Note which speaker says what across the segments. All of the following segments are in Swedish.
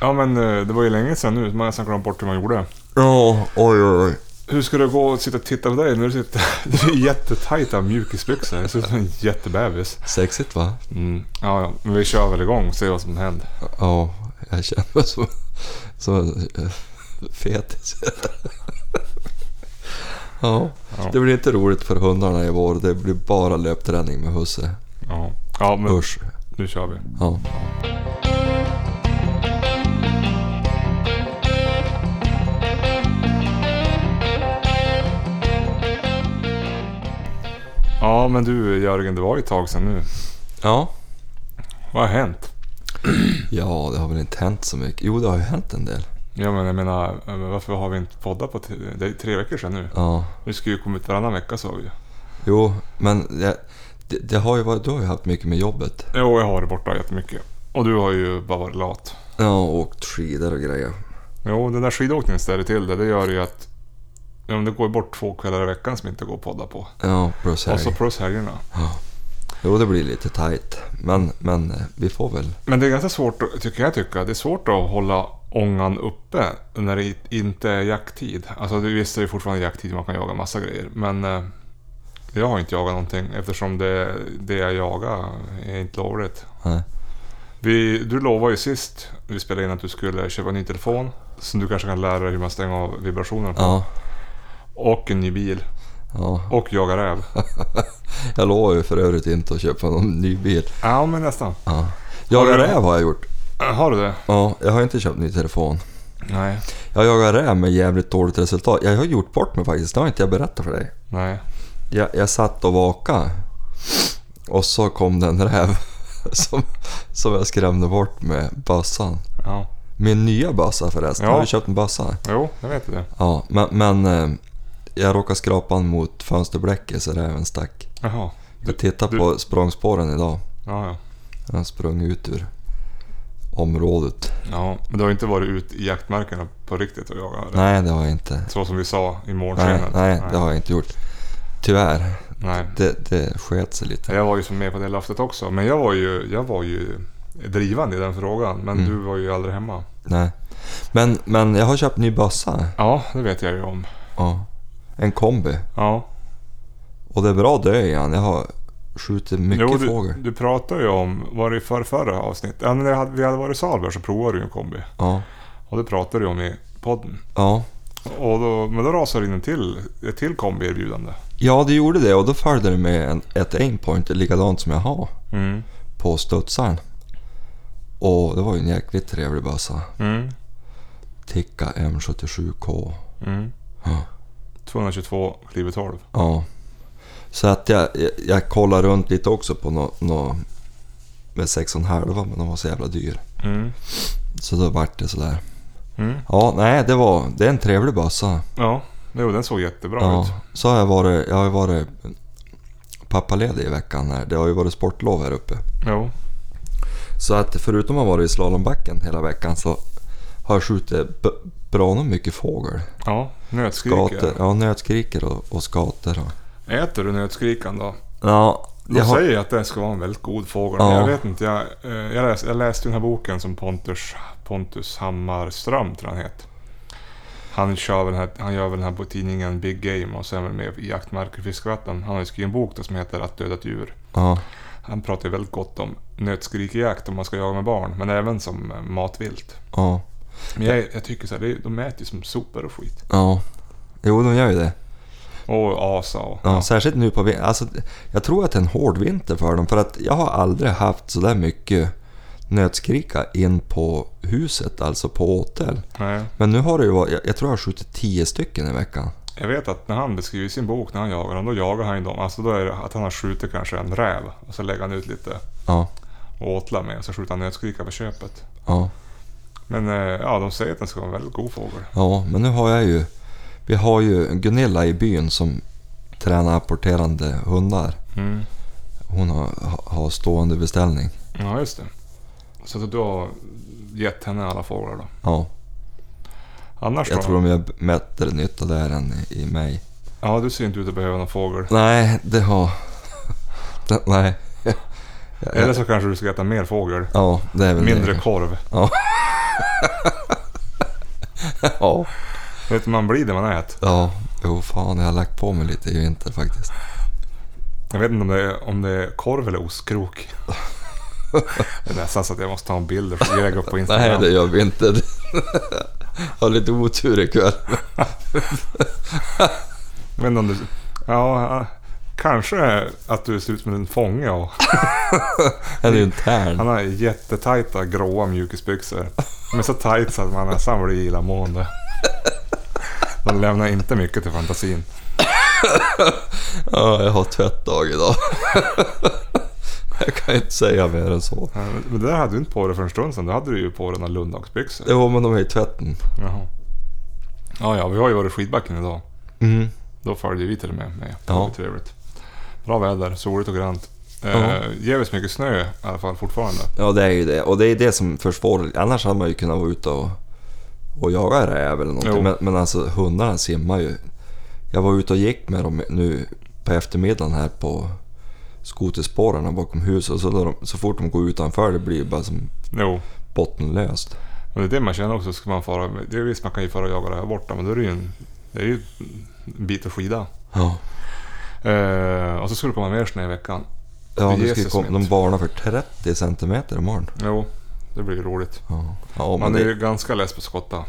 Speaker 1: Ja men eh, det var ju länge sedan nu. Man har nästan glömt bort hur man gjorde.
Speaker 2: Ja, oj oj oj.
Speaker 1: Hur ska det gå att sitta och titta på dig när du sitter... Du är jättetajta mjukisbyxor. Du ser ut som en jättebebis.
Speaker 2: Sexigt va?
Speaker 1: Mm. Ja, ja, men vi kör väl igång och ser vad som händer.
Speaker 2: Ja, jag känner mig som, som en eh, fetis. ja,
Speaker 1: Ja.
Speaker 2: det blir inte roligt för hundarna i vår. Det blir bara löpträning med husse.
Speaker 1: Ja, ja men
Speaker 2: Usch.
Speaker 1: nu kör vi.
Speaker 2: Ja.
Speaker 1: Ja, men du Jörgen, det var ju ett tag sedan nu.
Speaker 2: ja.
Speaker 1: Vad har hänt?
Speaker 2: Ja, det har väl inte hänt så mycket. Jo, det har ju hänt en del.
Speaker 1: Ja, men jag menar, eh, varför har vi inte poddat på t- det är tre veckor sedan nu?
Speaker 2: Ja.
Speaker 1: Vi skulle ju kommit varannan vecka sa vi ju.
Speaker 2: Jo, men det, det, det har ju varit, du har ju haft mycket med jobbet.
Speaker 1: Jo, jag har varit borta jättemycket. Och du har ju bara varit lat.
Speaker 2: Ja, och åkt skidor och grejer.
Speaker 1: Jo, den där skidåkningen ställer till det. Det gör ju att ja, men det går ju bort två kvällar i veckan som inte går att podda på.
Speaker 2: Ja, plus
Speaker 1: Och
Speaker 2: helg.
Speaker 1: så plus helgerna.
Speaker 2: Jo, det blir lite tajt. Men, men eh, vi får väl.
Speaker 1: Men det är ganska svårt, att- tycker jag tycka, det är svårt att hålla ångan uppe när det inte är jakttid. Alltså det- visst är det fortfarande jakttid, man kan jaga massa grejer. Men eh, jag har inte jagat någonting eftersom det, det jag jagar är inte lovligt.
Speaker 2: Nej.
Speaker 1: Vi, du lovade ju sist vi spelade in att du skulle köpa en ny telefon. Så du kanske kan lära dig hur man stänger av vibrationer på.
Speaker 2: Ja,
Speaker 1: Och en ny bil.
Speaker 2: ja.
Speaker 1: Och jaga räv.
Speaker 2: Jag lovar ju för övrigt inte att köpa någon ny bil.
Speaker 1: Ja, men nästan.
Speaker 2: Ja.
Speaker 1: Har
Speaker 2: Jaga
Speaker 1: du-
Speaker 2: räv har jag gjort.
Speaker 1: Har du det?
Speaker 2: Ja, jag har inte köpt ny telefon.
Speaker 1: Nej.
Speaker 2: Jag jagar räv med jävligt dåligt resultat. Jag har gjort bort mig faktiskt, det har inte jag berättat för dig.
Speaker 1: Nej.
Speaker 2: Jag, jag satt och vakade och så kom den räv som, som jag skrämde bort med bössan.
Speaker 1: Ja.
Speaker 2: Min nya bössa förresten.
Speaker 1: Ja.
Speaker 2: Har du köpt en bössa?
Speaker 1: Jo, jag vet det.
Speaker 2: Ja, men, men eh, jag råkade skrapa den mot fönsterblecket så räven stack.
Speaker 1: Jaha.
Speaker 2: Jag tittade
Speaker 1: du-
Speaker 2: på språngspåren idag.
Speaker 1: Ja, ja.
Speaker 2: Den sprang ut ur området.
Speaker 1: Ja, men du har inte varit ut i jaktmarkerna på riktigt och jagat? eller?
Speaker 2: Nej, det har jag inte.
Speaker 1: Så som vi sa i
Speaker 2: Nej,
Speaker 1: morgonskenet?
Speaker 2: nej, det har jag inte gjort. Tyvärr.
Speaker 1: Nej.
Speaker 2: Det, det sket sig lite.
Speaker 1: Jag var ju som med på det löftet också. Men jag var ju, jag var ju drivande i den frågan. Men
Speaker 2: Mm.
Speaker 1: du var ju aldrig hemma.
Speaker 2: Nej. Men, men jag har köpt ny bössa.
Speaker 1: Ja, det vet jag ju om.
Speaker 2: Ja. En kombi.
Speaker 1: Ja.
Speaker 2: Och det är bra dö igen. Jag har skjutit mycket
Speaker 1: jo, du,
Speaker 2: fågel.
Speaker 1: du pratade ju om, var det i förra, förra avsnitt? Ja, när jag hade- vi hade varit i Salberg så provade du ju en kombi.
Speaker 2: Ja.
Speaker 1: Och det pratade du om i podden.
Speaker 2: Ja.
Speaker 1: Och då, men då rasade det in en till, ett till kombi-erbjudande.
Speaker 2: ja, det gjorde det och då följde det med en, ett aimpoint likadant som jag har
Speaker 1: Mm.
Speaker 2: på studsaren. Och det var ju en jäkligt trevlig bössa.
Speaker 1: Mm.
Speaker 2: Ticka M77K.
Speaker 1: Mm.
Speaker 2: Ja.
Speaker 1: 222 kliver 12.
Speaker 2: Ja. Så att jag, jag, jag kollar runt lite också på något nå, med 6,5 men de var så jävla dyr.
Speaker 1: Mm.
Speaker 2: Så då vart det sådär.
Speaker 1: Mm.
Speaker 2: Ja, nej det var, det är en trevlig bössa.
Speaker 1: Ja, jo, den såg jättebra ut.
Speaker 2: Ja, så har jag varit, jag har ju varit pappaledig i veckan här. Det har ju varit sportlov här uppe.
Speaker 1: Jo.
Speaker 2: Så att förutom att ha varit i slalombacken hela veckan så har jag skjutit b- bra nog mycket fågel.
Speaker 1: Ja, nötskriker.
Speaker 2: Skater, ja, nötskriker och, och skater. Och.
Speaker 1: Äter du nötskrikan då?
Speaker 2: Ja,
Speaker 1: De
Speaker 2: jag har,
Speaker 1: säger ju att det ska vara en väldigt god fågel.
Speaker 2: Ja.
Speaker 1: Men jag vet inte, jag, eh, jag, läste, jag läste den här boken som Pontus, Pontus Hammarström tror jag han heter. Han, kör väl den här, han gör väl den här på tidningen Big Game och så är han med i Jaktmarker och Fiskevatten. Han har ju skrivit en bok då som heter Att döda ett djur.
Speaker 2: ja,
Speaker 1: Han pratar ju väldigt gott om nötskrikejakt om man ska jaga med barn, men även som eh, matvilt.
Speaker 2: ja,
Speaker 1: Men jag, jag tycker så här, det är, de äter ju som sopor och skit.
Speaker 2: ja. Jo, de gör ju det.
Speaker 1: Och asa och...
Speaker 2: Ja, Särskilt nu på vintern. Alltså, jag tror att det är en hård vinter för dem. För att jag har aldrig haft sådär mycket nötskrika in på huset, alltså på åtel.
Speaker 1: Nej.
Speaker 2: Men nu har det ju varit, jag, jag tror jag har skjutit 10 stycken i veckan.
Speaker 1: Jag vet att när han beskriver sin bok när han jagar dem, då jagar han ju dem. Alltså då är det att han har skjutit kanske en räv och så lägger han ut lite
Speaker 2: Ja,
Speaker 1: och åtlar med och så skjuter han nötskrika på köpet.
Speaker 2: ja,
Speaker 1: Men eh, ja, de säger att den ska vara en väldigt god fågel.
Speaker 2: ja, men nu har jag ju, vi har ju Gunilla i byn som tränar apporterande hundar.
Speaker 1: Mm.
Speaker 2: Hon har, har stående beställning.
Speaker 1: Ja, just det. Så att du har gett henne alla fåglar då.
Speaker 2: Ja,
Speaker 1: Annars då?
Speaker 2: jag tror de gör bättre nytta där än i, i mig.
Speaker 1: Ja, du ser inte ut att behöva någon fågel.
Speaker 2: Nej, det har... Det, nej.
Speaker 1: Eller så kanske du ska äta mer fågel.
Speaker 2: Ja, det är väl
Speaker 1: Mindre
Speaker 2: det.
Speaker 1: korv.
Speaker 2: Ja. ja.
Speaker 1: Vet du, man blir det man äter.
Speaker 2: Ja, jo fan jag har lagt på mig lite i vinter faktiskt.
Speaker 1: Jag vet inte om det är, om det är korv eller ostkrok. det är nästan så att jag måste ta en bild och försöka lägga upp på Instagram.
Speaker 2: Nej, det gör vi inte. jag har lite otur ikväll.
Speaker 1: Jag vet inte om du... Ja, kanske att du ser ut som en fånge. Och
Speaker 2: Eller en tärn.
Speaker 1: han har jättetajta gråa mjukisbyxor. De är så tajt så att man nästan blir illamående. De lämnar inte mycket till fantasin.
Speaker 2: Ja, jag har tvättdag idag. jag kan inte säga mer än så.
Speaker 1: Ja, men- Men det där hade du inte på dig för en stund sedan. Då hade du ju på dig några Lundagsbyxor.
Speaker 2: Jo, men de är i tvätten.
Speaker 1: Jaha. Ja, ja, vi har ju varit i skidbacken idag.
Speaker 2: Mm.
Speaker 1: Då följde vi till och med med. Det
Speaker 2: Ja.
Speaker 1: var trevligt. Bra väder, soligt och grant.
Speaker 2: Ja.
Speaker 1: Eh, Jävligt mycket snö i alla fall fortfarande.
Speaker 2: Ja, det är ju det. Och det är det som försvårar. Annars hade man ju kunnat vara ute och, och jaga räv eller
Speaker 1: Jo.
Speaker 2: någonting. Men, men alltså hundarna simmar ju. Jag var ute och gick med dem nu på eftermiddagen här på skoterspåren bakom huset. Och så, när de, så fort de går utanför det blir ju bara som
Speaker 1: Jo,
Speaker 2: bottenlöst.
Speaker 1: men det är det man känner också. Ska man fara, det är visst man kan ju fara och jaga där borta, men då är det ju en, det är ju en bit att skida.
Speaker 2: Ja.
Speaker 1: Eh, och så skulle det komma mer snö i veckan.
Speaker 2: Ja,
Speaker 1: Det
Speaker 2: nu
Speaker 1: ger
Speaker 2: ska ju
Speaker 1: sig
Speaker 2: kom,
Speaker 1: som
Speaker 2: de
Speaker 1: inte.
Speaker 2: varnar för 30 centimeter imorgon.
Speaker 1: Jo, det blir ju roligt.
Speaker 2: Ja, ja men,
Speaker 1: Man är
Speaker 2: det,
Speaker 1: ju ganska less på skotta.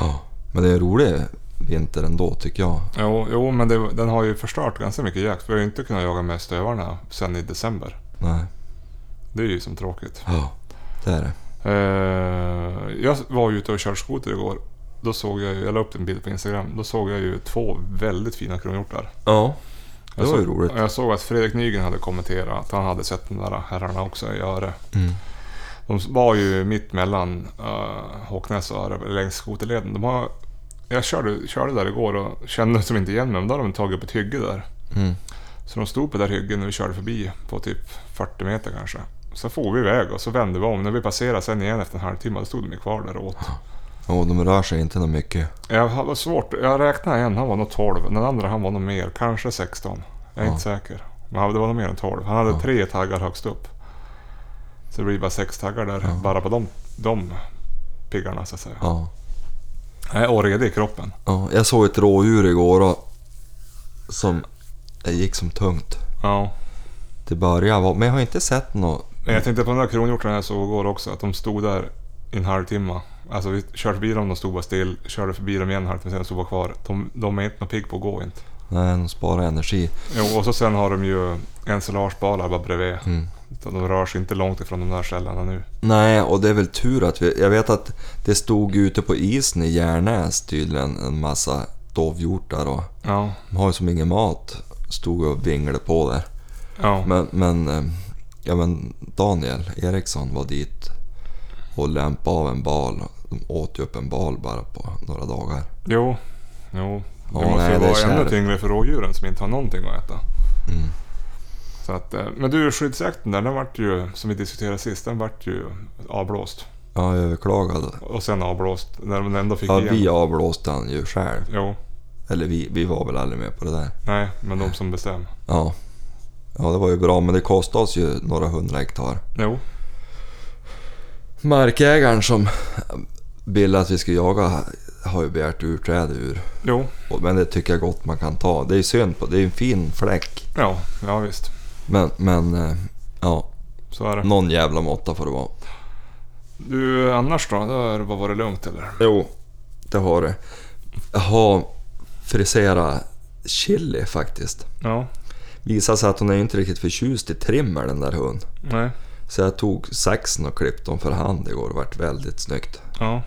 Speaker 2: ja, men det är en rolig vinter ändå tycker jag.
Speaker 1: Jo, jo men det, den har ju förstört ganska mycket jakt. Vi har ju inte kunnat jaga med stövarna sen i december.
Speaker 2: Nej.
Speaker 1: Det är ju som tråkigt.
Speaker 2: Ja, det är det.
Speaker 1: Eh, jag var ju ute och körde skoter igår. Då såg jag, ju- jag la upp en bild på Instagram. Då såg jag ju två väldigt fina kronhjortar.
Speaker 2: Ja.
Speaker 1: Jag
Speaker 2: Det var ju
Speaker 1: såg-
Speaker 2: roligt.
Speaker 1: Jag såg att Fredrik Nygren hade kommenterat att han hade sett de där herrarna också i Öre.
Speaker 2: Mm.
Speaker 1: De var ju mitt mellan uh, Håknäs och Öre, längs skoterleden. De har, jag körde, körde där igår och kände som inte igen mig, men då hade de tagit upp ett hygge där.
Speaker 2: Mm.
Speaker 1: Så de stod på det där hyggen när vi körde förbi på typ 40 meter kanske. Så for vi iväg och så vände vi om. När vi passerade sen igen efter en halvtimme, då stod de ju kvar där och åt.
Speaker 2: Och de rör sig inte något mycket.
Speaker 1: Jag var svårt. Jag räknade en, han var nog 12. Den andra han var nog mer, kanske 16. Jag är inte säker. Men han- det var nog mer än 12. Han hade
Speaker 2: Ja.
Speaker 1: tre taggar högst upp. Så det blir bara sex taggar där,
Speaker 2: Ja.
Speaker 1: bara på de, de piggarna så att säga.
Speaker 2: Ja.
Speaker 1: Nej, och redig i kroppen.
Speaker 2: Ja, jag såg ett rådjur igår och som det gick som tungt.
Speaker 1: Ja.
Speaker 2: Det började vara, men jag har inte sett något.
Speaker 1: Men jag tänkte på den där kronhjortarna jag såg igår också, att de stod där i en halvtimme. Alltså vi körde förbi dem, de stod bara still. Körde förbi dem igen en halvtimme sen, de stod bara kvar. De, de är inte något pigg på att gå inte.
Speaker 2: Nej, de sparar energi.
Speaker 1: Jo, och så sen har de ju ensilagebalar bara bredvid.
Speaker 2: Mm.
Speaker 1: Så De rör sig inte långt ifrån de där källorna nu.
Speaker 2: Nej, och det är väl tur att vi... Jag vet att det stod ute på isen i Järnäs tydligen en massa dovhjortar och
Speaker 1: Ja,
Speaker 2: de har ju som ingen mat. Stod och vinglade på där.
Speaker 1: ja.
Speaker 2: Men, men, eh, ja, men Daniel Eriksson var dit och lämpade av en bal. De åt ju upp en bal bara på några dagar.
Speaker 1: Jo, jo. Det
Speaker 2: Ja,
Speaker 1: måste
Speaker 2: nej,
Speaker 1: ju
Speaker 2: det är
Speaker 1: vara ännu
Speaker 2: kärvt.
Speaker 1: tyngre för rådjuren som inte har någonting att äta.
Speaker 2: Mm.
Speaker 1: Så att, eh, men du, skyddsjakten där, den vart ju, som vi diskuterade sist, den vart ju avblåst.
Speaker 2: Ja, jag överklagade.
Speaker 1: Och sen avblåst, när de ändå fick
Speaker 2: Ja,
Speaker 1: igen.
Speaker 2: vi avblåste han ju själv.
Speaker 1: Jo,
Speaker 2: Eller vi, vi var väl aldrig med på det där.
Speaker 1: nej, men de som bestämmer.
Speaker 2: Ja. ja, det var ju bra men det kostade oss ju några hundra hektar.
Speaker 1: Jo,
Speaker 2: Markägaren som ville att vi skulle jaga har ju begärt urträde ur.
Speaker 1: jo,
Speaker 2: Och- Men det tycker jag gott man kan ta. Det är ju synd på, det är ju en fin fläck.
Speaker 1: ja, ja visst.
Speaker 2: Men, men eh, ja,
Speaker 1: Så är det.
Speaker 2: någon jävla måtta får det vara.
Speaker 1: Du, annars då? Då har det bara varit lugnt eller?
Speaker 2: Jo, det har det. Jag har friserat chili faktiskt.
Speaker 1: Ja,
Speaker 2: Visar sig att hon är ju inte riktigt förtjust i trimmer den där hunden.
Speaker 1: nej,
Speaker 2: Så jag tog saxen och klippte dem för hand igår och vart väldigt snyggt.
Speaker 1: ja,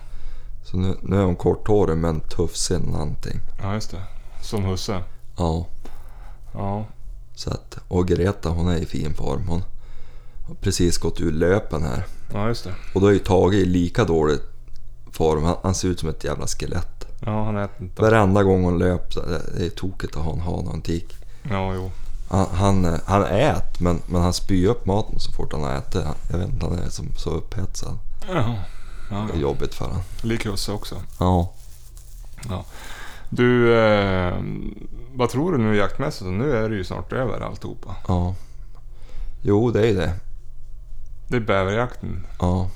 Speaker 2: Så nu, nu är hon korthårig men tuffsig någonting.
Speaker 1: ja just det. Som husse.
Speaker 2: Ja,
Speaker 1: Ja,
Speaker 2: så att, och Greta hon är i fin form. Hon har precis gått ur löpen här.
Speaker 1: ja just det.
Speaker 2: Och då är ju Tage i lika dålig form. Han, han ser ut som ett jävla skelett.
Speaker 1: Ja, han äter inte.
Speaker 2: Varenda gång hon löp, så det det är tokigt att ha en hane och en tik.
Speaker 1: Ja, jo.
Speaker 2: Han, han, eh, han ät, men, men han spyr upp maten så fort han har ätit. Han- Jag vet inte, han är som, så upphetsad.
Speaker 1: Ja, ja,
Speaker 2: Det är
Speaker 1: ja.
Speaker 2: jobbigt för honom.
Speaker 1: lik husse också.
Speaker 2: Ja.
Speaker 1: Du, eh, vad tror du nu jaktmässigt? Nu är det ju snart över alltihopa.
Speaker 2: Ja. Jo, det är det.
Speaker 1: Det är bäverjakten.
Speaker 2: Ja.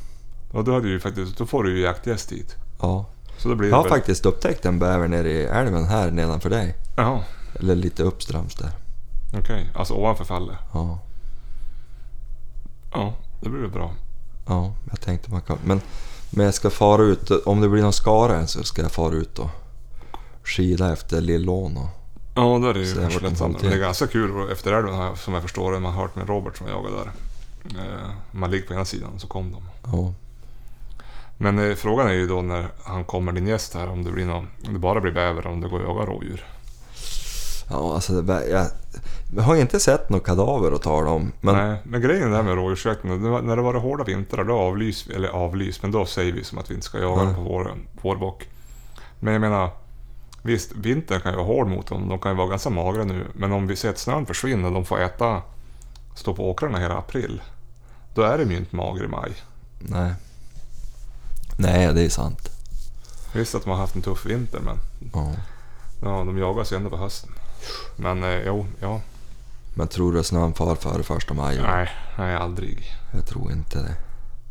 Speaker 1: Och då, hade du ju faktiskt, då får du ju jaktgäst dit.
Speaker 2: Ja.
Speaker 1: Så då blir det
Speaker 2: Jag har
Speaker 1: väl-
Speaker 2: faktiskt upptäckt en bäver nere i älven här nedanför dig.
Speaker 1: Jaha,
Speaker 2: Eller lite uppströms där.
Speaker 1: okej. Alltså ovanför fallet.
Speaker 2: Ja.
Speaker 1: Ja, det blir väl bra.
Speaker 2: Ja, jag tänkte man kan... Men, men jag ska fara ut, om det blir någon skara än så ska jag fara ut och skida efter Lillån och...
Speaker 1: Ja, där är det ju
Speaker 2: Så det har
Speaker 1: kanske
Speaker 2: varit en
Speaker 1: lätt annorlunda.
Speaker 2: framtid.
Speaker 1: Det är ganska kul efter älven har jag- som jag förstår det. Man har hört med Robert som jag jagade där. Eh, Man ligger på ena sidan och så kom de.
Speaker 2: Ja.
Speaker 1: Men eh, frågan är ju då när han kommer, din gäst här, om det, blir någon, om det bara blir bäver eller om det går att jaga rådjur.
Speaker 2: Ja, alltså det, jag, jag har inte sett något kadaver att tala om. Men
Speaker 1: Nej, men grejen där med rådjursjakten, det var- när det var hårda vintrar då avlys eller avlys, men då säger vi som att vi inte ska jaga
Speaker 2: Nej.
Speaker 1: på våren, vårbock. Men jag menar, visst vintern kan ju vara hård mot dem, de kan ju vara ganska magra nu, men om vi ser att snön försvinner och de får äta, stå på åkrarna hela april, då är de ju inte magra i maj.
Speaker 2: nej. Nej, det är sant.
Speaker 1: Visst att de har haft en tuff vinter, men
Speaker 2: Ja.
Speaker 1: ja, de jagas ju ändå på hösten. Men eh, jo, ja,
Speaker 2: Men tror du att snön far före första maj?
Speaker 1: nej, nej, aldrig.
Speaker 2: Jag tror inte det.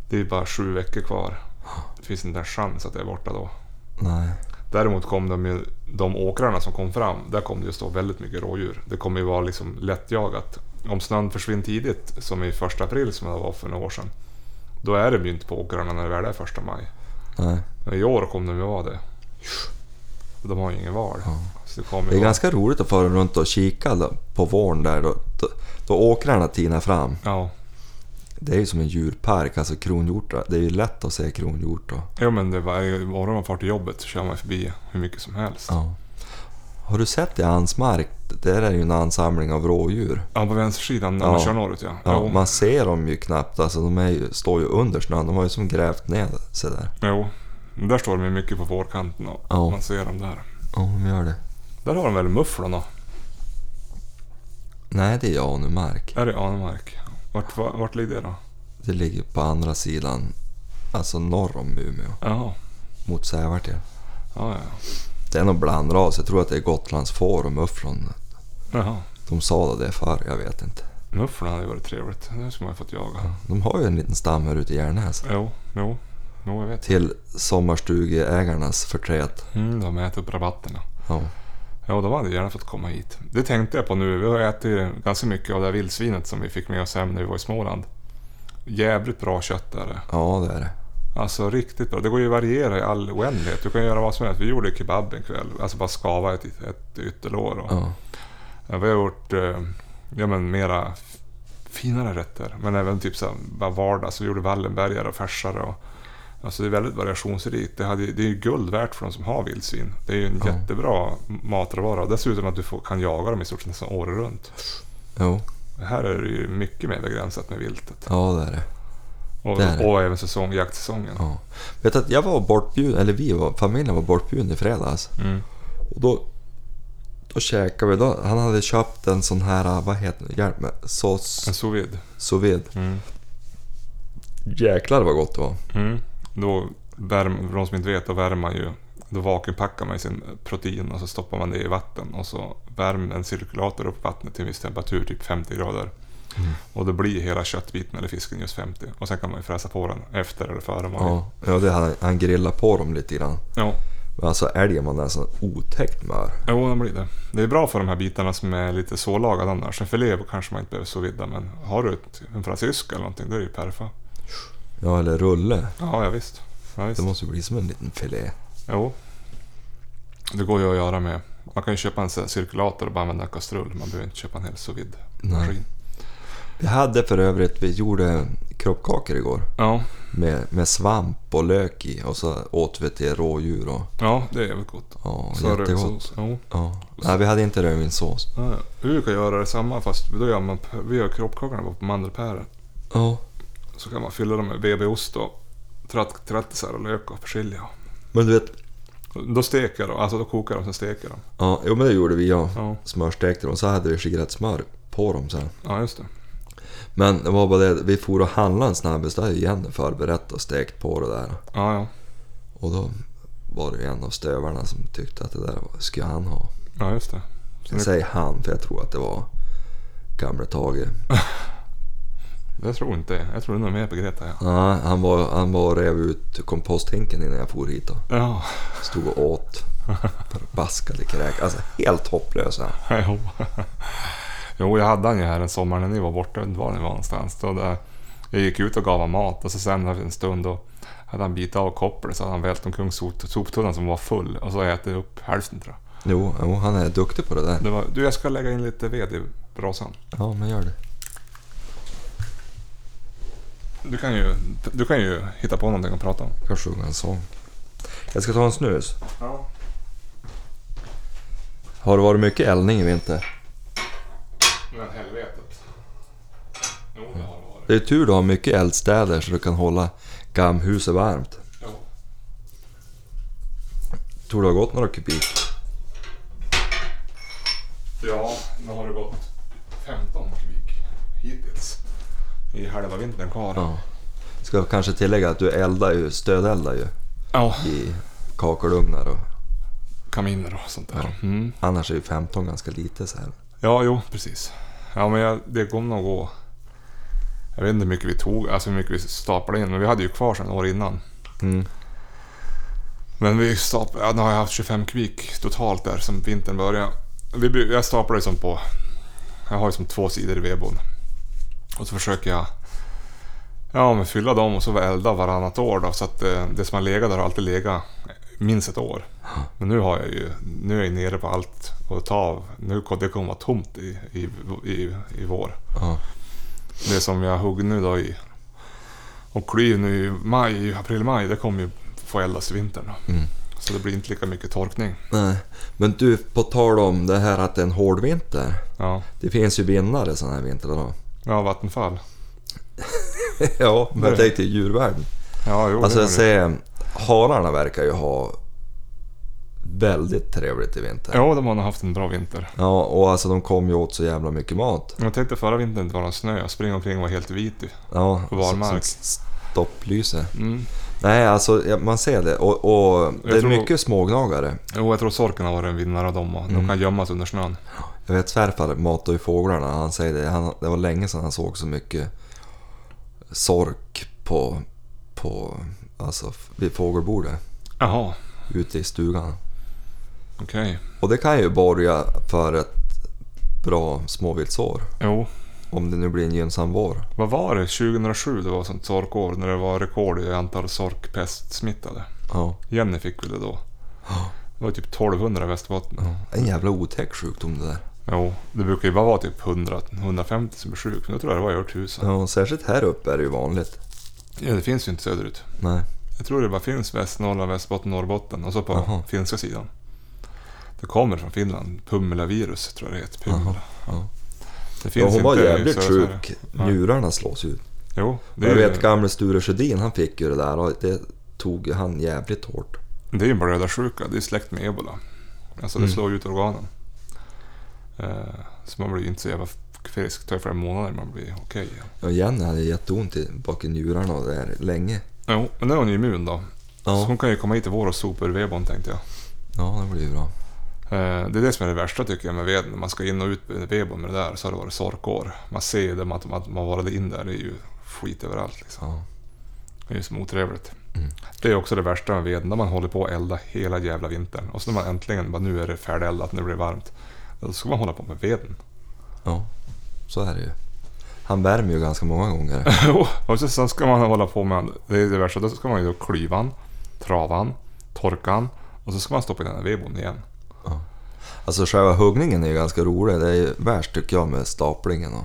Speaker 1: Det är bara sju veckor kvar. Det finns inte en chans att det är borta då.
Speaker 2: Nej.
Speaker 1: Däremot kom de, ju, de åkrarna som kom fram, där kom det ju stå väldigt mycket rådjur. Det kommer ju vara liksom lättjagat. Om snön försvinner tidigt, som i första april som det var för några år sedan, då är de ju inte på åkrarna när det väl är första maj.
Speaker 2: Nej.
Speaker 1: Men i år kommer de ju vara det. De har ju ingen val. Så det kommer
Speaker 2: Det
Speaker 1: ju
Speaker 2: är
Speaker 1: vara...
Speaker 2: ganska roligt att fara runt och kika då, på våren där. Då, då, då åkrarna tinar fram.
Speaker 1: Ja.
Speaker 2: Det är ju som en djurpark, alltså kronhjortar. Det är ju lätt att se kronhjort då.
Speaker 1: ja, men det varje morgon man far till jobbet så kör man förbi hur mycket som helst.
Speaker 2: Ja. Har du sett i hans mark? Där är ju en ansamling av rådjur.
Speaker 1: Ja, på vänstersidan när man
Speaker 2: Ja.
Speaker 1: kör norrut ja.
Speaker 2: Ja,
Speaker 1: jo,
Speaker 2: man ser dem ju knappt, alltså de är ju, står ju under snön. De har ju som grävt ner sig där.
Speaker 1: jo. Men Där står de ju mycket på vårkanten och
Speaker 2: Ja.
Speaker 1: man ser dem där.
Speaker 2: Ja, de gör det.
Speaker 1: Där har de väl mufflorna?
Speaker 2: Nej, det är Janumark.
Speaker 1: Är det Anemark? Vart, va- vart ligger det då?
Speaker 2: Det ligger på andra sidan, alltså norr om Umeå,
Speaker 1: Jaha.
Speaker 2: mot Sävartjärn.
Speaker 1: Ja, ja.
Speaker 2: Det är någon blandras, jag tror att det är Gotlands får och mufflon.
Speaker 1: Jaha.
Speaker 2: De sa det förr, jag vet inte.
Speaker 1: Mufflorna hade ju varit trevligt. Det skulle man ju fått jaga.
Speaker 2: De har ju en liten stam här ute i Järnäs.
Speaker 1: Jo, jo. Jo, jag vet.
Speaker 2: Till sommarstugeägarnas förtret.
Speaker 1: Mm, de äter upp rabatterna.
Speaker 2: Ja.
Speaker 1: Ja, de hade gärna fått komma hit. Det tänkte jag på nu. Vi har ätit ganska mycket av det här vildsvinet som vi fick med oss hem när vi var i Småland. Jävligt bra kött är det.
Speaker 2: ja, det är det.
Speaker 1: Alltså riktigt bra. Det går ju att variera i all oändlighet. Du kan göra vad som helst. Vi gjorde kebab en kväll. Alltså bara skava ett, ett ytterlår. Och...
Speaker 2: Ja.
Speaker 1: Ja, vi har gjort eh, ja, men mera f- finare rätter. Men även typ så här, bara vardag. Så vi gjorde Wallenbergare och färsare. Och, alltså det är väldigt variationsrikt. Det, hade, det är ju guld värt för de som har vildsvin. Det är ju en
Speaker 2: Ja.
Speaker 1: jättebra matråvara. Dessutom att du får, kan jaga dem i stort sett nästan året runt.
Speaker 2: Jo,
Speaker 1: Här är det ju mycket mer begränsat med viltet.
Speaker 2: ja det är det.
Speaker 1: Och,
Speaker 2: Det är det.
Speaker 1: och även säsong, jaktsäsongen.
Speaker 2: Ja. Vet att jag var bortbjuden, eller vi var, familjen var bortbjuden i fredags.
Speaker 1: Mm.
Speaker 2: Och då, då käkade vi, då, han hade köpt en sån här, vad heter det, hjälp mig, sås,
Speaker 1: En sous vide.
Speaker 2: sous vide.
Speaker 1: Mm.
Speaker 2: Jäklar vad gott det var.
Speaker 1: Mm. Då värm, för de som inte vet, då värmer man ju. Då vakuumpackar man ju sin protein och så stoppar man det i vatten och så värmer en cirkulator upp vattnet till en viss temperatur, typ 50 grader. Och då blir hela köttbiten eller fisken just 50. Och sen kan man ju fräsa på den efter eller före man vill.
Speaker 2: Ja, ja det, han, han grillade på dem lite grann.
Speaker 1: Ja,
Speaker 2: Men alltså älgen var nästan otäckt mör.
Speaker 1: jo, det blir det. Det är bra för de här bitarna som är lite sållagade annars. En filé kanske man inte behöver så vidda, men har du ett, en fransysk eller någonting, då är det ju perfa.
Speaker 2: Ja, eller rulle.
Speaker 1: Ja, ja visst. Ja, visst.
Speaker 2: Det måste ju bli som en liten filé.
Speaker 1: Jo. Det går ju att göra med... Man kan ju köpa en sån här cirkulator och bara använda en kastrull. Man behöver inte köpa en hel sous vide maskin.
Speaker 2: Vi hade för övrigt, vi gjorde kroppkakor igår.
Speaker 1: Ja,
Speaker 2: Med, med svamp och lök i och så åt vi till rådjur och
Speaker 1: ja, det är jävligt gott.
Speaker 2: ja,
Speaker 1: Så har du
Speaker 2: jättegott.
Speaker 1: sås. Jo.
Speaker 2: Ja. Nej, vi hade inte rödvinssås.
Speaker 1: Ja, ja. Vi brukar göra detsamma fast då gör man, vi gör kroppkakorna bara på mandelpäron.
Speaker 2: Ja.
Speaker 1: Så kan man fylla dem med BB-ost och tratt- trattisar och lök och persilja.
Speaker 2: Men du vet,
Speaker 1: Då steker jag dem, alltså då kokar jag dem, sen steker jag dem.
Speaker 2: ja, jo men det gjorde vi ja.
Speaker 1: Ja.
Speaker 2: Smörstekte dem, så hade vi skivrat smör på dem sen.
Speaker 1: Ja, just det.
Speaker 2: Men det var bara det, vi for och handlade en snabbis, då hade ju Jenny förberett och stekt på det där.
Speaker 1: Ja, ja.
Speaker 2: Och då var det ju en av stövarna som tyckte att det där var- skulle han ha.
Speaker 1: Ja, just det.
Speaker 2: Jag säger han, för jag tror att det var gamle Tage.
Speaker 1: Jag tror inte Jag tror det är något mer på Greta. Ja.
Speaker 2: Ja, han var, han var och rev ut komposthänken innan jag for hit. Då.
Speaker 1: ja.
Speaker 2: Stod och åt. Förbaskade kräk. Alltså helt hopplös här.
Speaker 1: Jo. jo, jag hade han ju här en sommar när ni var borta, jag vet inte var ni var någonstans. Då där, jag gick ut och gav honom mat och så sen efter en stund då hade han bitit av kopplet så hade han vält omkring sop- soptunnan som var full och så ätit upp hälften tror jag.
Speaker 2: Jo, jo, han är duktig på det där.
Speaker 1: Det var, du, jag ska lägga in lite ved i brasan.
Speaker 2: Ja, men gör det.
Speaker 1: Du kan ju, du kan ju hitta på någonting att prata om.
Speaker 2: Jag sjunger en sång. Jag ska ta en snus.
Speaker 1: Ja.
Speaker 2: Har det varit mycket eldning i vinter?
Speaker 1: Men helvetet. Jo, det har det varit.
Speaker 2: Det är tur du har mycket eldstäder så du kan hålla gammhuset varmt.
Speaker 1: Jo.
Speaker 2: Tror du har gått några kubik?
Speaker 1: Ja, nu har det gått 15 kubik hittills. I halva vintern kvar.
Speaker 2: Ja. Ska kanske tillägga att du eldar ju, stödeldar ju
Speaker 1: ja.
Speaker 2: i kakelugnar och
Speaker 1: kaminer och sånt där. Ja, mm.
Speaker 2: annars är ju 15 ganska lite så här.
Speaker 1: ja jo, precis. Ja, men jag, det kommer nog gå... Jag vet inte hur mycket vi tog, alltså hur mycket vi staplade in, men vi hade ju kvar sedan år innan.
Speaker 2: Mm.
Speaker 1: Men vi staplade, ja, nu har jag haft 25 kubik totalt där som vintern började. Vi, bru- jag staplar ju som på... Jag har ju som två sidor i vedboden. Och så försöker jag... Ja, men fylla dem och så elda varannat år då, så att eh, det som har legat där har alltid legat minst ett år. Men nu har jag ju, nu är jag nere på allt och ta av. Nu kommer det kommer vara tomt i, i, i, i vår.
Speaker 2: Ja.
Speaker 1: Det som jag hugg nu då i och klyv nu i maj, i april-maj, det kommer ju få eldas i vintern då.
Speaker 2: Mm.
Speaker 1: Så det blir inte lika mycket torkning.
Speaker 2: Nej. Men du, på tal om det här att det är en hård vinter.
Speaker 1: Ja,
Speaker 2: Det finns ju vinnare sådana här vintrar då.
Speaker 1: ja Vattenfall.
Speaker 2: ja, men jag
Speaker 1: Nej.
Speaker 2: tänkte i djurvärlden.
Speaker 1: Ja, jo,
Speaker 2: Alltså
Speaker 1: det
Speaker 2: jag
Speaker 1: var det.
Speaker 2: säger, hararna verkar ju ha väldigt trevligt i vinter.
Speaker 1: Jo, de har nog haft en bra vinter.
Speaker 2: Ja, och alltså de kom ju åt så jävla mycket mat.
Speaker 1: Jag tänkte förra vintern inte var någon snö. Jag springer omkring och var helt vit. i.
Speaker 2: Ja,
Speaker 1: På barmark.
Speaker 2: som s- stopplyse.
Speaker 1: Mm.
Speaker 2: Nej, alltså ja, man ser det. Och, och det är
Speaker 1: tror-
Speaker 2: mycket smågnagare.
Speaker 1: Jo, jag tror sorken har varit en vinnare av dem. och De
Speaker 2: Mm.
Speaker 1: kan gömmas under snön.
Speaker 2: Jag vet svärfar matar ju fåglarna. Han säger det. Han, det var länge sedan han såg så mycket sork på, på alltså vid fågelbordet
Speaker 1: Jaha,
Speaker 2: ute i stugan.
Speaker 1: okej.
Speaker 2: Och det kan ju borga för ett bra småviltsår.
Speaker 1: Jo,
Speaker 2: Om det nu blir en gynnsam vår.
Speaker 1: Vad var det? 2007 det var sånt sorkår när det var rekord i antal sorkpestsmittade.
Speaker 2: Ja.
Speaker 1: Jenny fick väl det då.
Speaker 2: Ja.
Speaker 1: Det var typ 1200 i Västerbotten.
Speaker 2: En jävla otäck sjukdom det där.
Speaker 1: Jo, det brukar ju bara vara typ 100, 150 som är sjuk. Men jag tror jag det var över 1000.
Speaker 2: Ja, och särskilt här uppe är det ju vanligt.
Speaker 1: Ja, det finns ju inte söderut.
Speaker 2: Nej.
Speaker 1: Jag tror det bara finns Västernorrland, Västerbotten, Norrbotten och så på
Speaker 2: Jaha.
Speaker 1: finska sidan. Det kommer från Finland. Pumlavirus tror jag det heter. Pumla.
Speaker 2: Jaha, ja.
Speaker 1: Det
Speaker 2: Ja,
Speaker 1: finns
Speaker 2: hon var
Speaker 1: inte i
Speaker 2: jävligt
Speaker 1: södra Sverige.
Speaker 2: sjuk.
Speaker 1: Ja.
Speaker 2: Njurarna slås ut.
Speaker 1: Jo, det är,
Speaker 2: Jag vet
Speaker 1: ju,
Speaker 2: gamle Sture Sjödin, han fick ju det där och det tog ju han jävligt hårt.
Speaker 1: det är ju en blödarsjuka. Det är släkt med ebola. Alltså det
Speaker 2: Mm.
Speaker 1: slår ut organen. Eh, så man blir ju inte så jävla frisk. Det tar ju flera månader man blir okej igen.
Speaker 2: Och Jenny hade jätteont i, bak i njurarna och det där länge.
Speaker 1: Jo, men nu är hon ju immun då. Så
Speaker 2: Ja,
Speaker 1: hon kan ju komma hit i vår och sopa ur vedboden tänkte jag.
Speaker 2: ja det blir ju bra.
Speaker 1: Eh, Det är det som är det värsta tycker jag med veden. När man ska in och ut med vedboden med det där så har det varit sorkår. Man ser ju det, att man, man varit in där, det är ju skit överallt liksom.
Speaker 2: Ja.
Speaker 1: Det är ju som otrevligt.
Speaker 2: Mm.
Speaker 1: Det är också det värsta med veden, när man håller på att elda hela jävla vintern. Och så när man äntligen bara nu är det färdigeldat, nu blir det varmt. Då ska man hålla på med veden.
Speaker 2: ja, så är det ju. Han värmer ju ganska många gånger.
Speaker 1: Jo, och så, sen ska man hålla på med, det är det värsta, då ska man ju då klyvan, travan, torkan och så ska man stoppa in den här vedboden igen.
Speaker 2: Alltså själva huggningen är ju ganska rolig. Det är ju värst tycker jag med staplingen och...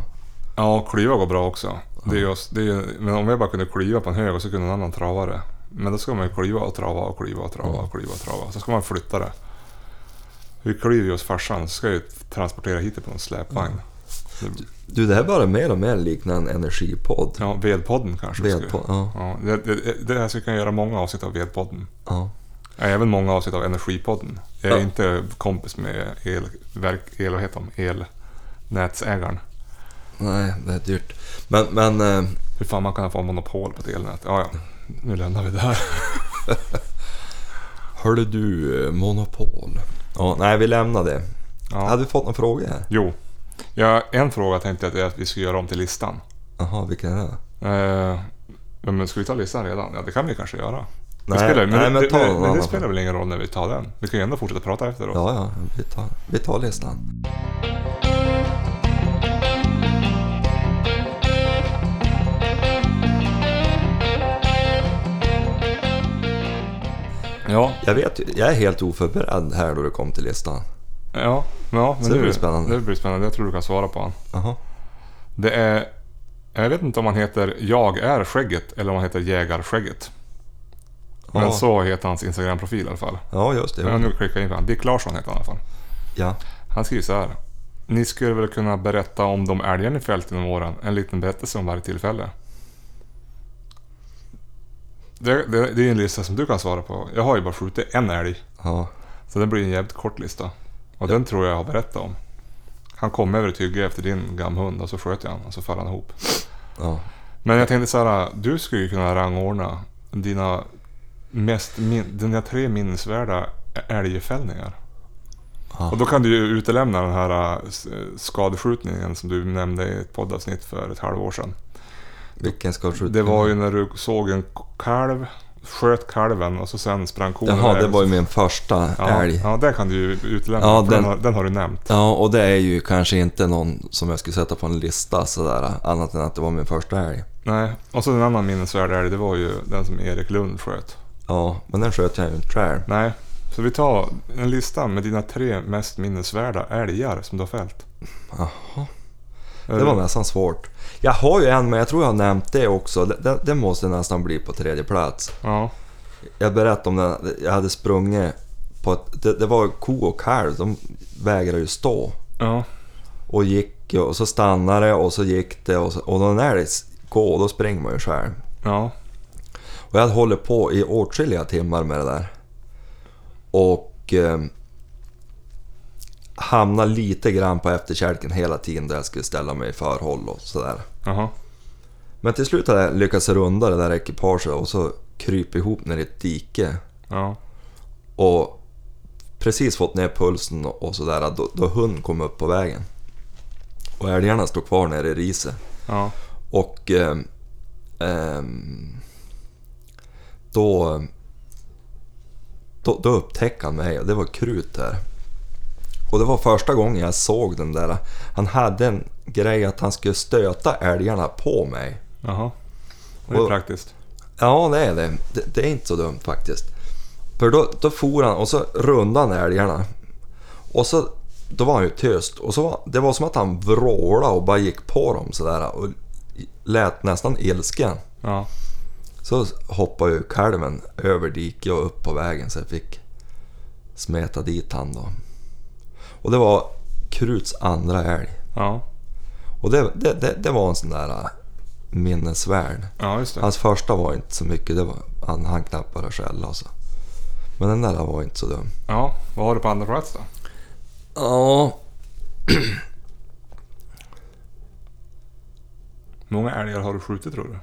Speaker 1: Ja, klyva går bra också. Det är just, det är, ju- men om jag bara kunde klyva på en hög och så kunde en annan trava det. Men då ska man ju klyva och trava och klyva och trava
Speaker 2: Mm.
Speaker 1: och klyva och trava. Så ska man flytta det. Vi klyver ju hos farsan, så ska jag ju transportera hit det på en
Speaker 2: Mm.
Speaker 1: släpvagn. Det-
Speaker 2: Du, det här börjar mer och mer likna en energipodd.
Speaker 1: Ja, vedpodden kanske vi ska göra.
Speaker 2: Vedpodd, ja.
Speaker 1: Ja, det, det, det här så vi kan göra många avsnitt av vedpodden.
Speaker 2: ja.
Speaker 1: Ja, Även många avsnitt av Energipodden. Jag är
Speaker 2: Ja.
Speaker 1: inte kompis med elverk, el, vad heter de? elnätsägaren.
Speaker 2: Nej, det är dyrt. Men, men... eh,
Speaker 1: Hur fan man kan få monopol på ett elnät. Ja, ja. Nu lämnar vi det här.
Speaker 2: Hörde du, eh, monopol. Ja, nej, vi lämnar det.
Speaker 1: Ja.
Speaker 2: Hade vi fått några frågor här?
Speaker 1: Jo. Ja, en fråga tänkte jag att vi skulle göra om till listan.
Speaker 2: Jaha, vilken är det?
Speaker 1: Eh, men ska vi ta listan redan? Ja, det kan vi kanske göra.
Speaker 2: Nej,
Speaker 1: det spelar, men
Speaker 2: nej, men
Speaker 1: det,
Speaker 2: ta
Speaker 1: det,
Speaker 2: någon
Speaker 1: men det
Speaker 2: annan.
Speaker 1: spelar väl ingen roll när vi tar den. Vi kan ju ändå fortsätta prata efteråt.
Speaker 2: Ja, ja, vi tar, vi tar listan.
Speaker 1: Ja,
Speaker 2: Jag vet ju- jag är helt oförberedd här då det kom till listan.
Speaker 1: ja, ja men
Speaker 2: Så det
Speaker 1: nu,
Speaker 2: blir spännande.
Speaker 1: Det blir spännande. Jag tror du kan svara på han.
Speaker 2: Jaha.
Speaker 1: Det är... Jag vet inte om han heter Jag är skägget eller om han heter Jägarskägget. Men
Speaker 2: Ja.
Speaker 1: så heter hans Instagram-profil i alla fall.
Speaker 2: Ja, just det.
Speaker 1: Ja, nu klickar jag in på honom. Dick Larsson heter han i alla fall.
Speaker 2: Ja.
Speaker 1: Han skriver så här. Ni skulle väl kunna berätta om de älgar ni fällt genom åren? En liten berättelse om varje tillfälle. Det, det, det är en lista som du kan svara på. Jag har ju bara skjutit en älg.
Speaker 2: ja.
Speaker 1: Så det blir en jävligt kort lista. Och den tror jag jag har berättat om. Han kom över ett hygge efter din gamhund och så sköt jag han och så föll han ihop.
Speaker 2: ja.
Speaker 1: Men jag tänkte så här. Du skulle ju kunna rangordna dina, mest, min, dina tre minnesvärda älgfällningar.
Speaker 2: Ja.
Speaker 1: Och då kan du ju utelämna den här äh, s- äh, skadeskjutningen som du nämnde i ett poddavsnitt för ett halvår sedan.
Speaker 2: Vilken ska du skjuta?
Speaker 1: Det var ju när du såg en k- kalv, sköt kalven och så sen sprang kon
Speaker 2: Jaha,
Speaker 1: iväg.
Speaker 2: det var ju min första
Speaker 1: ja,
Speaker 2: älg.
Speaker 1: Ja, det kan du ju utelämna.
Speaker 2: Ja,
Speaker 1: för den,
Speaker 2: den-
Speaker 1: har, den har du nämnt.
Speaker 2: Ja, och det är ju kanske inte någon som jag skulle sätta på en lista sådär, annat än att det var min första älg.
Speaker 1: Nej, och så en annan minnesvärd älg, det var ju den som Erik Lund sköt.
Speaker 2: Ja, men den sköt jag ju inte själv.
Speaker 1: Nej, så vi tar en lista med dina tre mest minnesvärda älgar som du har fällt.
Speaker 2: Jaha,
Speaker 1: Är
Speaker 2: det var
Speaker 1: du-
Speaker 2: nästan svårt. Jag har ju en, men jag tror jag har nämnt det också. Den, den måste nästan bli på tredje plats.
Speaker 1: Ja,
Speaker 2: Jag berättade om den, jag hade sprungit på ett, det, det var ko och kalv, de vägrade ju stå.
Speaker 1: ja,
Speaker 2: Och gick ju, och så stannade det och så gick det och, så, och då när det s- går, då springer man ju själv.
Speaker 1: ja.
Speaker 2: Och jag hade hållit på i åtskilliga timmar med det där. Och eh, hamnade lite grann på efterkälken hela tiden där jag skulle ställa mig i förhåll och sådär.
Speaker 1: Jaha.
Speaker 2: Men till slut hade jag lyckats runda det där ekipaget och så krypa ihop ner i ett dike.
Speaker 1: Ja,
Speaker 2: Och precis fått ner pulsen och sådär då, då hunden kom upp på vägen. Och älgarna stod kvar nere i riset.
Speaker 1: ja,
Speaker 2: Och ehm, ehm, då, då, då upptäckte han mig och det var krut där. Och det var första gången jag såg den där. Han hade en grej att han skulle stöta älgarna på mig.
Speaker 1: jaha. Det är
Speaker 2: Och-
Speaker 1: praktiskt.
Speaker 2: Ja, det är det. Det, det är inte så dumt faktiskt. För då, då for han och så rundade han älgarna. Och så, då var han ju tyst. Och så var, det var som att han vrålade och bara gick på dem sådär och lät nästan ilsken.
Speaker 1: Ja,
Speaker 2: Så hoppade ju kalven över diket och upp på vägen så jag fick smeta dit han då. Och det var Kruts andra älg.
Speaker 1: ja,
Speaker 2: Och det, det, det, det var en sån där äh, minnesvärd.
Speaker 1: ja just det.
Speaker 2: Hans första var inte så mycket, det var, han, han knappt bara skälla alltså. Men den där var inte så dum.
Speaker 1: Ja, vad har du på andra plats då?
Speaker 2: Ja,
Speaker 1: många älgar har du skjutit tror du?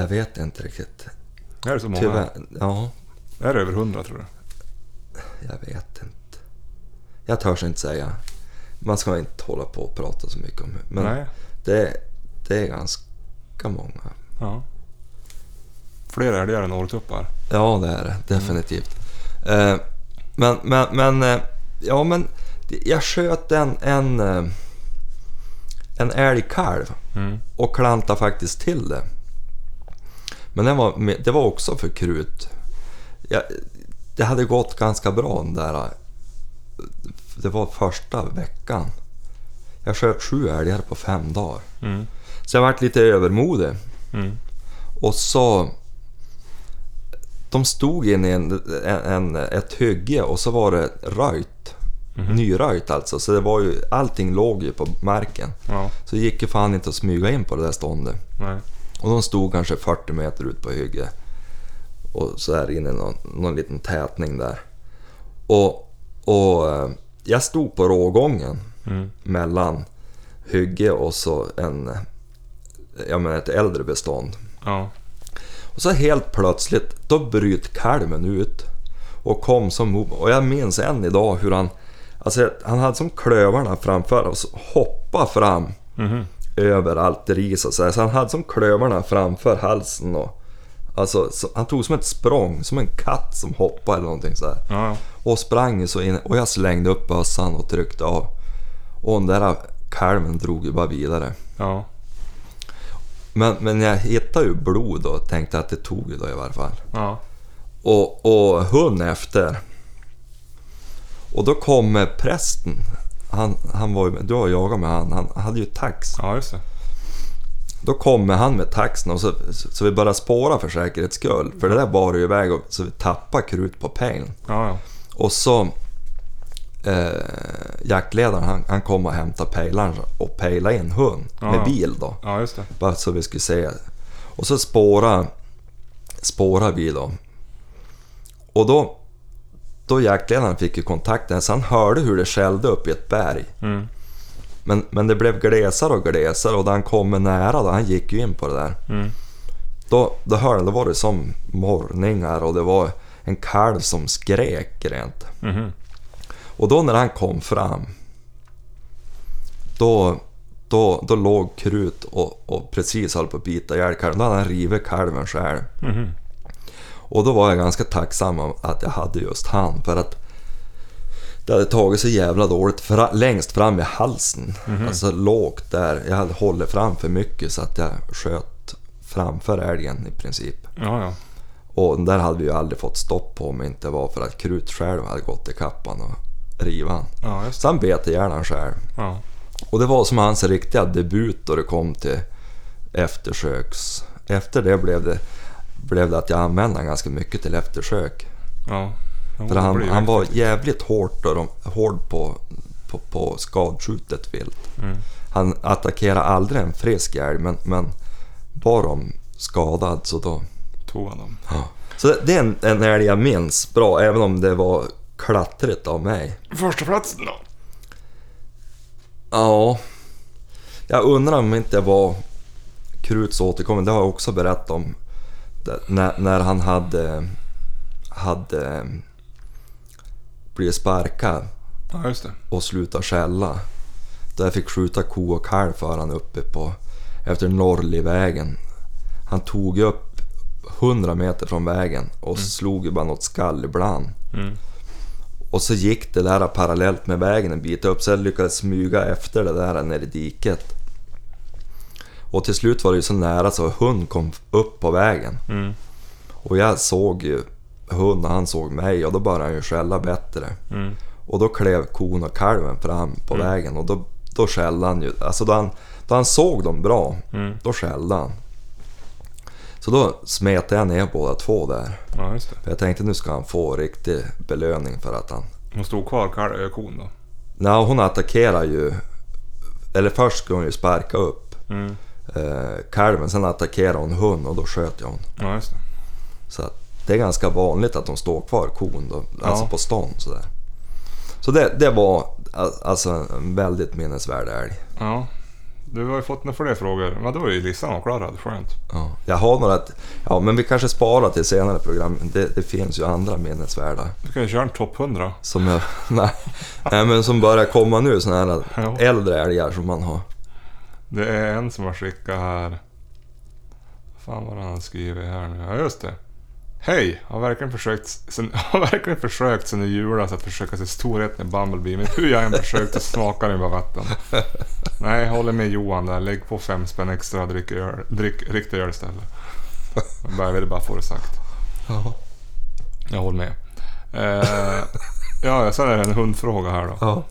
Speaker 2: jag vet inte riktigt.
Speaker 1: Är det så många?
Speaker 2: Tyvärr, ja,
Speaker 1: Är det över hundra tror du?
Speaker 2: jag vet inte. Jag törs inte säga. Man ska inte hålla på och prata så mycket om det. Men
Speaker 1: Nej.
Speaker 2: det, det är ganska många.
Speaker 1: Ja. Fler älgar än åretuppar?
Speaker 2: Ja, det är det. Definitivt. Eh, men, men, men, eh, ja men, det- jag sköt en, en, eh, en älgkalv
Speaker 1: Mm.
Speaker 2: och klantade faktiskt till det. Men den var, med- det var också för krut. Jag, det hade gått ganska bra den där, eh, det var första veckan. Jag sköt sju älgar på fem dagar.
Speaker 1: Mm.
Speaker 2: Så jag varit lite övermodig.
Speaker 1: Mm.
Speaker 2: Och så... De stod inne i en, en, ett hygge och så var det röjt. Nyröjt alltså, så det var ju, allting låg ju på marken.
Speaker 1: Ja,
Speaker 2: Så det gick ju fan inte att smyga in på det där ståndet.
Speaker 1: nej.
Speaker 2: Och de stod kanske 40 meter ut på hygget. Och så här inne i någon, någon liten tätning där. Och, och eh, jag stod på rågången
Speaker 1: Mm.
Speaker 2: mellan hygge och så en, jag menar ett äldre bestånd.
Speaker 1: Ja,
Speaker 2: Och så helt plötsligt, då bryt kalven ut och kom som mo- Och jag minns än idag hur han... Alltså han hade som klövarna framför och så hoppa fram över allt ris och så, här. så han hade som klövarna framför halsen och Alltså, så, han tog som ett språng, som en katt som hoppar eller någonting så här.
Speaker 1: Ja, ja.
Speaker 2: Och sprang ju så in och jag slängde upp bössan och tryckte av. Och den där kalven drog ju bara vidare.
Speaker 1: ja.
Speaker 2: Men, men jag hittade ju blod och tänkte att det tog ju då i varje fall.
Speaker 1: ja.
Speaker 2: Och, och hon efter. Och då kom eh, prästen. Han, han var ju, du har jagat med han, han hade ju tax.
Speaker 1: Ja, just det.
Speaker 2: Då kommer han med taxen och så, så, så vi började spåra för säkerhets skull. För det där bar ju iväg och, så vi tappade krut på pengen.
Speaker 1: Ja, ja.
Speaker 2: Och så eh, jaktledaren han, han kom och hämtade pejlaren och pejlade in hund
Speaker 1: Ja, ja.
Speaker 2: med bil då.
Speaker 1: Ja, just det.
Speaker 2: Bara så vi skulle se. Och så spåra, spåra vi då. Och då, då jaktledaren fick ju kontakten så han hörde hur det skällde upp i ett berg.
Speaker 1: Mm.
Speaker 2: Men, men det blev glesare och glesare och när han kom nära då, han gick ju in på det där.
Speaker 1: Mm.
Speaker 2: Då, då hörde det var det som morgningar och det var en kalv som skrek rent.
Speaker 1: Mhm.
Speaker 2: Och då när han kom fram, då, då, då låg krut och, och precis höll på att bita ihjäl kalven. Då hade han rivit kalven själv.
Speaker 1: Mhm.
Speaker 2: Och då var jag ganska tacksam om att jag hade just han för att det hade tagit så jävla dåligt fra, längst fram i halsen. Alltså lågt där. Jag hade hållit fram för mycket så att jag sköt framför älgen i princip.
Speaker 1: Ja, ja.
Speaker 2: Och den där hade vi ju aldrig fått stopp på om det inte var för att krut själv hade gått i kappan och rivan. han.
Speaker 1: Ja, just det.
Speaker 2: Så han bet ihjäl han själv.
Speaker 1: Ja.
Speaker 2: Och det var som hans riktiga debut då det kom till eftersöks... Efter det blev det, blev det att jag använde han ganska mycket till eftersök.
Speaker 1: Ja. Jo,
Speaker 2: För
Speaker 1: det blir
Speaker 2: han,
Speaker 1: ju
Speaker 2: han var
Speaker 1: häftigt.
Speaker 2: jävligt hårt då, de, hård på, på, på skadskjutet vilt.
Speaker 1: Mm.
Speaker 2: Han attackerade aldrig en frisk älg men, men var de skadad så då...
Speaker 1: Tog han dem.
Speaker 2: Ja. Så det, det är en, en älg jag minns bra även om det var klattrigt av mig.
Speaker 1: Första platsen då?
Speaker 2: Ja. Jag undrar om inte det var Kruts återkommen, det har jag också berättat om. Det- När, när han hade, hade eh, blivit sparkad
Speaker 1: Ja, just det.
Speaker 2: och slutat skälla. Då jag fick skjuta ko och kalv för han uppe på, efter Norrlivägen. Han tog ju upp 100 meter från vägen och slog ju bara något skall ibland.
Speaker 1: Mm.
Speaker 2: Och så gick det där parallellt med vägen en bit upp, så jag lyckades smyga efter det där ner i diket. Och till slut var det ju så nära så hund kom upp på vägen.
Speaker 1: Mm.
Speaker 2: Och jag såg ju hund och han såg mig och då började han ju skälla bättre.
Speaker 1: Mm.
Speaker 2: Och då klev kon och kalven fram på vägen och då, då skällde han ju. Alltså då han, då han såg dem bra,
Speaker 1: Mm.
Speaker 2: då skällde han. Så då smetade jag ner båda två där.
Speaker 1: Ja, just det.
Speaker 2: För jag tänkte nu ska han få riktig belöning för att han
Speaker 1: Hon stod kvar, Karl- eh, kon då?
Speaker 2: Nej, hon attackerar ju... Eller först skulle hon ju sparka upp
Speaker 1: Mm.
Speaker 2: eh, kalven, sen attackerar hon hund och då sköt jag hon.
Speaker 1: Ja, just det.
Speaker 2: Så att det är ganska vanligt att de står kvar kon, då, alltså
Speaker 1: Ja.
Speaker 2: på stånd sådär. Så det, det var a- alltså en väldigt minnesvärd älg.
Speaker 1: Ja. Du har ju fått några fler frågor. Men då är ju listan avklarad. Skönt.
Speaker 2: Ja. Jag har några... att- Ja, men vi kanske sparar till senare program. Det, det finns ju andra minnesvärda
Speaker 1: Du kan ju köra en topp 100.
Speaker 2: som jag... nej, nej, men som börjar komma nu, sådana
Speaker 1: Ja.
Speaker 2: här äldre älgar som man har.
Speaker 1: Det är en som har skickat här. Fan vad han skriver här nu. Ja just det. Hej! Har verkligen försökt sen, har verkligen försökt sen i julas att försöka se storheten i Bumblebee men hur jag än försökt så smakar den bara vatten. Nej, jag håller med Johan där. Lägg på fem spänn extra och drick, öl, drick riktig öl istället. Jag bara- jag ville bara få det sagt.
Speaker 2: Ja.
Speaker 1: Jag håller med. Eh, ja, ja, sen är det en hundfråga här då.
Speaker 2: Ja.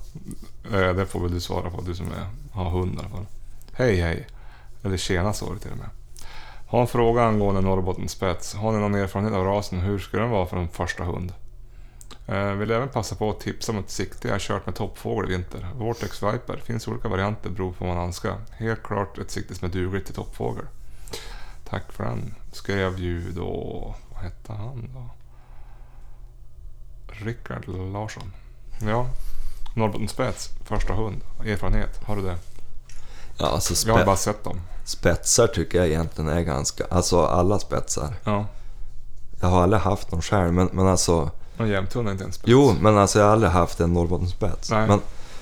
Speaker 1: Eh, Det får väl du svara på, du som är, har hund i alla fall. Hej hej. Eller tjena sa du till och med. Har en fråga angående Norrbottens spets. Har ni någon erfarenhet av rasen? Hur skulle den vara för en första hund? Eh, vill även passa på att tipsa om ett sikte jag har kört med toppfågel i vinter. Vortex Viper. Finns olika varianter beroende på vad man önskar. Helt klart ett sikte som är dugligt till toppfågel. Tack för den. Skrev ju då... Vad hette han då? Rickard Larsson. Ja, Norrbottens spets, första hund. Erfarenhet, har du det?
Speaker 2: Ja, alltså
Speaker 1: Jag har
Speaker 2: spe-
Speaker 1: bara sett dem.
Speaker 2: Spetsar tycker jag egentligen är ganska... Alltså alla spetsar.
Speaker 1: Ja.
Speaker 2: Jag har aldrig haft någon själv, men, men alltså...
Speaker 1: Och jämthund är inte ens spets.
Speaker 2: Jo, men alltså jag har aldrig haft en Norrbottenspets.
Speaker 1: Nej.
Speaker 2: Men,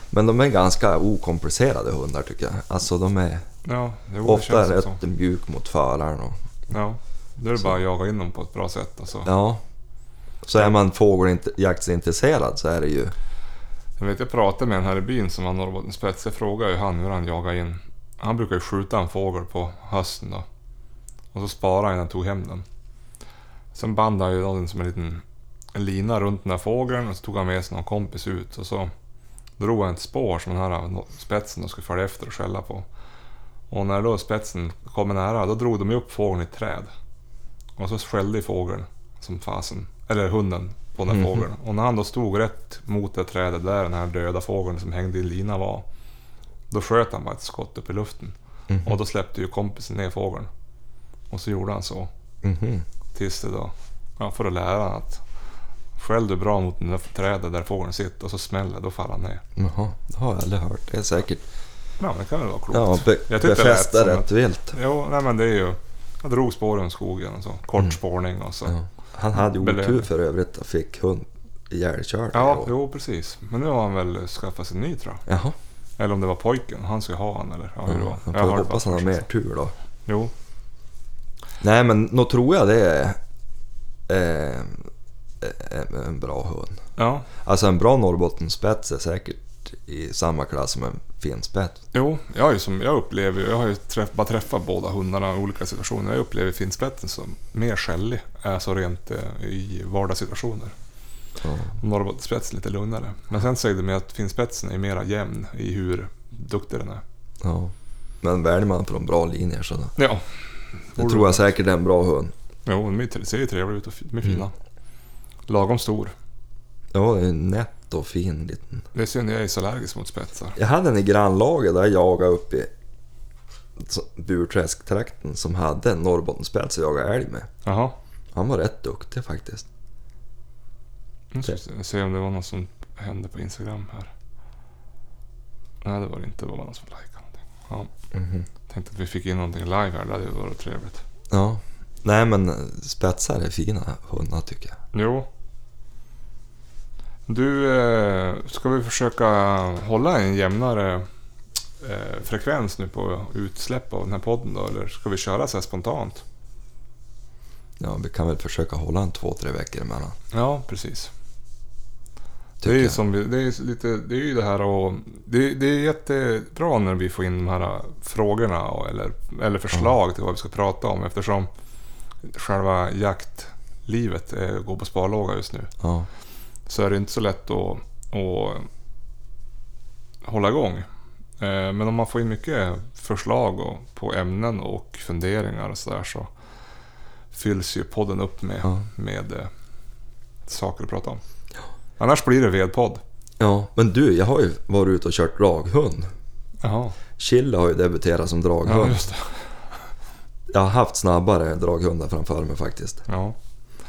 Speaker 2: Men de är ganska okomplicerade hundar tycker jag. Alltså de är
Speaker 1: Ja, jo, det
Speaker 2: ofta
Speaker 1: känns
Speaker 2: rätt
Speaker 1: rätt... så.
Speaker 2: mjuk mot föraren. Och,
Speaker 1: Ja, då är det bara att jaga in dem på ett bra sätt. Alltså.
Speaker 2: ja. Så är man fågeljaktsintresserad så är det ju...
Speaker 1: Jag vet, jag pratade med en här i byn som har Norrbottenspets. Jag frågade ju han hur han jagar in. Han brukar ju skjuta en fågel på hösten då. Och så sparade han den och tog hem den. Sen band han ju den som en liten lina runt den här fågeln och så tog han med sig någon kompis ut och så drog han ett spår som den här spetsen då skulle följa efter och skälla på. Och när då spetsen kommer nära, då drog de ju upp fågeln i ett träd. Och så skällde ju fågeln som fasen, eller hunden, på den här
Speaker 2: Mhm.
Speaker 1: fågeln. Och när han då stod rätt mot det trädet där den här döda fågeln som hängde i lina var, då sköt han bara ett skott upp i luften.
Speaker 2: Mhm.
Speaker 1: Och då släppte ju kompisen ner fågeln. Och så gjorde han så.
Speaker 2: Mhm.
Speaker 1: Tills det då, ja, för att lära han att skäll du bra mot den där trädet där fågeln sitter och så smäller då faller han ner.
Speaker 2: Jaha, det har jag aldrig hört. Det är säkert...
Speaker 1: Ja, men det kan väl vara klokt.
Speaker 2: Ja, be,
Speaker 1: Jag tyckte det lät
Speaker 2: befästa
Speaker 1: som
Speaker 2: rätt
Speaker 1: att-
Speaker 2: vilt.
Speaker 1: Jo, nej men det är ju... Jag drog spåren i skogen och så. Kort spårning och så. Ja,
Speaker 2: Mm. Ja. Han hade ju otur
Speaker 1: Belöning.
Speaker 2: för övrigt och fick hund ihjälkörd.
Speaker 1: jo precis. Men nu har han väl skaffat sig en ny tror jag.
Speaker 2: Jaha,
Speaker 1: Eller om det var pojken. Han ska ju ha han eller? Ja, hur det var.
Speaker 2: jag
Speaker 1: Jag
Speaker 2: får
Speaker 1: hörde
Speaker 2: hoppas han
Speaker 1: bara
Speaker 2: har
Speaker 1: först.
Speaker 2: mer tur då.
Speaker 1: Jo,
Speaker 2: Nej men nog tror jag det är eh, en, en bra hund.
Speaker 1: ja.
Speaker 2: Alltså en bra Norrbottenspets är säkert i samma klass som en finspets.
Speaker 1: Jo, jag, är ju som, jag upplever ju- jag har ju träff, bara träffat båda hundarna i olika situationer. Jag upplever finspetten som mer skällig, alltså rent eh, i vardagssituationer.
Speaker 2: Ja.
Speaker 1: Norrbottenspetsen lite lugnare. Men sen säger det mig att finspetsen är mera jämn i hur duktig den är.
Speaker 2: Ja. Men väljer man från bra linjer så då.
Speaker 1: Ja,
Speaker 2: Det tror jag säkert är en bra hund.
Speaker 1: jo, de är tre- ser ju trevliga ut och fi- de är fina. Lagom stor.
Speaker 2: Det var en nätt och fin liten.
Speaker 1: Det är synd, jag är så allergisk mot spetsar.
Speaker 2: Jag hade en i grannlaget där jag jagade uppe i så- Burträsktrakten som hade en Norrbottenspets att jaga älg med.
Speaker 1: Jaha,
Speaker 2: Han var rätt duktig faktiskt.
Speaker 1: nu ska vi se om det var något som hände på Instagram här. Nej, det var det inte. Det var någon som likade någonting. Ja. Tänkte att vi fick in någonting live här, det hade ju varit trevligt.
Speaker 2: Ja. Nej men eh, spetsar är fina hundar tycker jag.
Speaker 1: Jo. Du, eh, ska vi försöka hålla en jämnare eh, frekvens nu på utsläpp av den här podden då? Eller ska vi köra så här spontant?
Speaker 2: Ja, vi kan väl försöka hålla en två, tre veckor emellan.
Speaker 1: Ja, precis. Det
Speaker 2: tycker
Speaker 1: är, ju
Speaker 2: jag.
Speaker 1: som, vi- det, är ju lite, det är ju det här och det, det är jättebra när vi får in de här eh, frågorna och, eller, eller förslag till vad vi ska prata om eftersom själva jaktlivet eh, går på sparlåga just nu.
Speaker 2: Ja.
Speaker 1: så är det inte så lätt att, att hålla igång. Eh, Men om man får in mycket förslag och, på ämnen och funderingar och sådär så fylls ju podden upp med,
Speaker 2: Ja.
Speaker 1: med eh, saker att prata om. Annars blir det vedpodd.
Speaker 2: ja, men du, jag har ju varit ute och kört draghund.
Speaker 1: Jaha,
Speaker 2: Chilla har ju debuterat som
Speaker 1: ja,
Speaker 2: draghund.
Speaker 1: just det.
Speaker 2: Jag har haft snabbare draghundar framför mig faktiskt.
Speaker 1: Ja.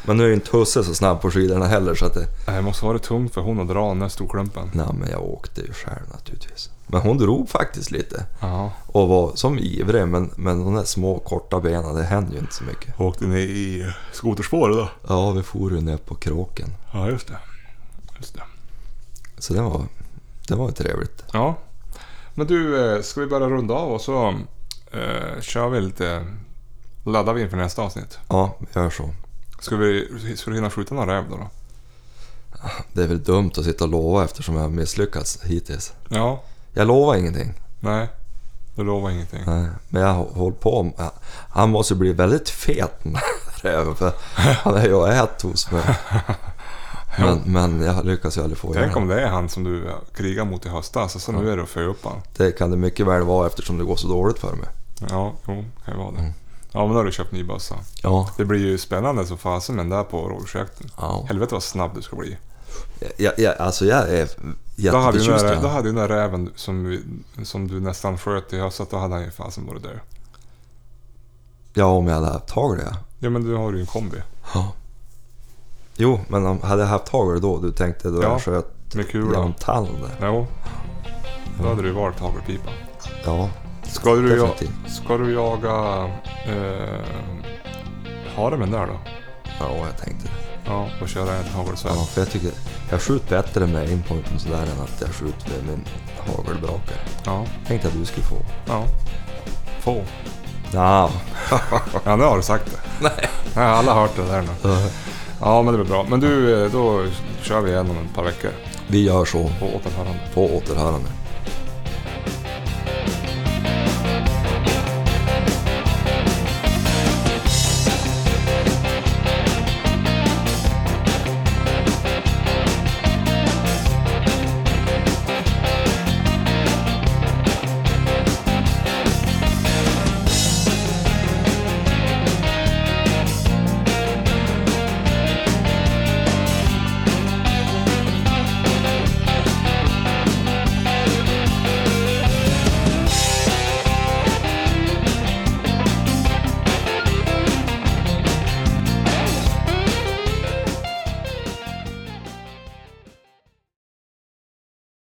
Speaker 2: Men nu är ju inte husse så snabb på skidorna heller så att det...
Speaker 1: Eh, Det måste vara tungt för hon att dra den där storklumpen.
Speaker 2: Nej, men jag åkte ju själv naturligtvis. Men hon drog faktiskt lite
Speaker 1: Ja.
Speaker 2: och var som ivrig men, men de där små korta benen, det händer ju inte så mycket.
Speaker 1: Åkte ni i skoterspåret då?
Speaker 2: Ja, vi for ju ner på kråken.
Speaker 1: Ja, just det. Just det.
Speaker 2: Så det var, det var ju trevligt.
Speaker 1: Ja. Men du, eh, ska vi börja runda av och så eh, kör vi lite... Laddar vi inför nästa avsnitt.
Speaker 2: Ja, vi gör så.
Speaker 1: Ska, vi, ska du hinna skjuta någon räv då? då?
Speaker 2: Det är väl dumt att sitta och lova eftersom jag har misslyckats hittills.
Speaker 1: Ja.
Speaker 2: Jag lovar ingenting.
Speaker 1: Nej. Du lovar ingenting.
Speaker 2: Nej, Men jag hå- håller på med... ja, Han måste bli väldigt fet den här räven, för han är ju och äter hos mig. Men, men jag lyckas ju aldrig få
Speaker 1: Tänk
Speaker 2: igen
Speaker 1: om det är han som du krigar mot i höstas och så nu är det att föda upp han.
Speaker 2: Det kan det mycket väl vara eftersom det går så dåligt för mig.
Speaker 1: Ja, jo, kan ju vara det. Ja, men då har du köpt ny bössa.
Speaker 2: Ja.
Speaker 1: Det blir ju spännande som fasen med den där på rådjursjakten.
Speaker 2: ja.
Speaker 1: Helvete vad snabb du ska bli.
Speaker 2: Jag, jag, alltså jag är
Speaker 1: Då hade, ju den
Speaker 2: jätteförtjust i
Speaker 1: där, då
Speaker 2: honom.
Speaker 1: hade ju den där räven som, vi, som du nästan sköt i höstas, då hade han ju fasen varit död.
Speaker 2: Ja, om jag hade haft tag i det.
Speaker 1: Ja, men du har ju en kombi.
Speaker 2: Ja. Jo, men om, hade jag haft tag i det då? Du tänkte då
Speaker 1: Ja,
Speaker 2: jag sköt
Speaker 1: Med
Speaker 2: genom
Speaker 1: kula.
Speaker 2: tallen där?
Speaker 1: Jo. Då hade du varit hagelpipa.
Speaker 2: Ja,
Speaker 1: Ska du, ja,
Speaker 2: Definitivt.
Speaker 1: ska du jaga eh, harmen där då?
Speaker 2: ja, jag tänkte det.
Speaker 1: Ja, och köra en hagelspett.
Speaker 2: Ja, för jag tycker jag skjuter bättre med aimpointen sådär än att jag skjuter med min hagelbrakare.
Speaker 1: Ja.
Speaker 2: Tänkte att du skulle få.
Speaker 1: ja. Få.
Speaker 2: Nja.
Speaker 1: Ja, nu har du sagt det.
Speaker 2: Nej.
Speaker 1: Ja, alla har hört det där nu. Ja, men det blir bra. Men du, eh, då kör vi igen om ett par veckor.
Speaker 2: Vi gör så.
Speaker 1: På återhörande.
Speaker 2: På återhörande.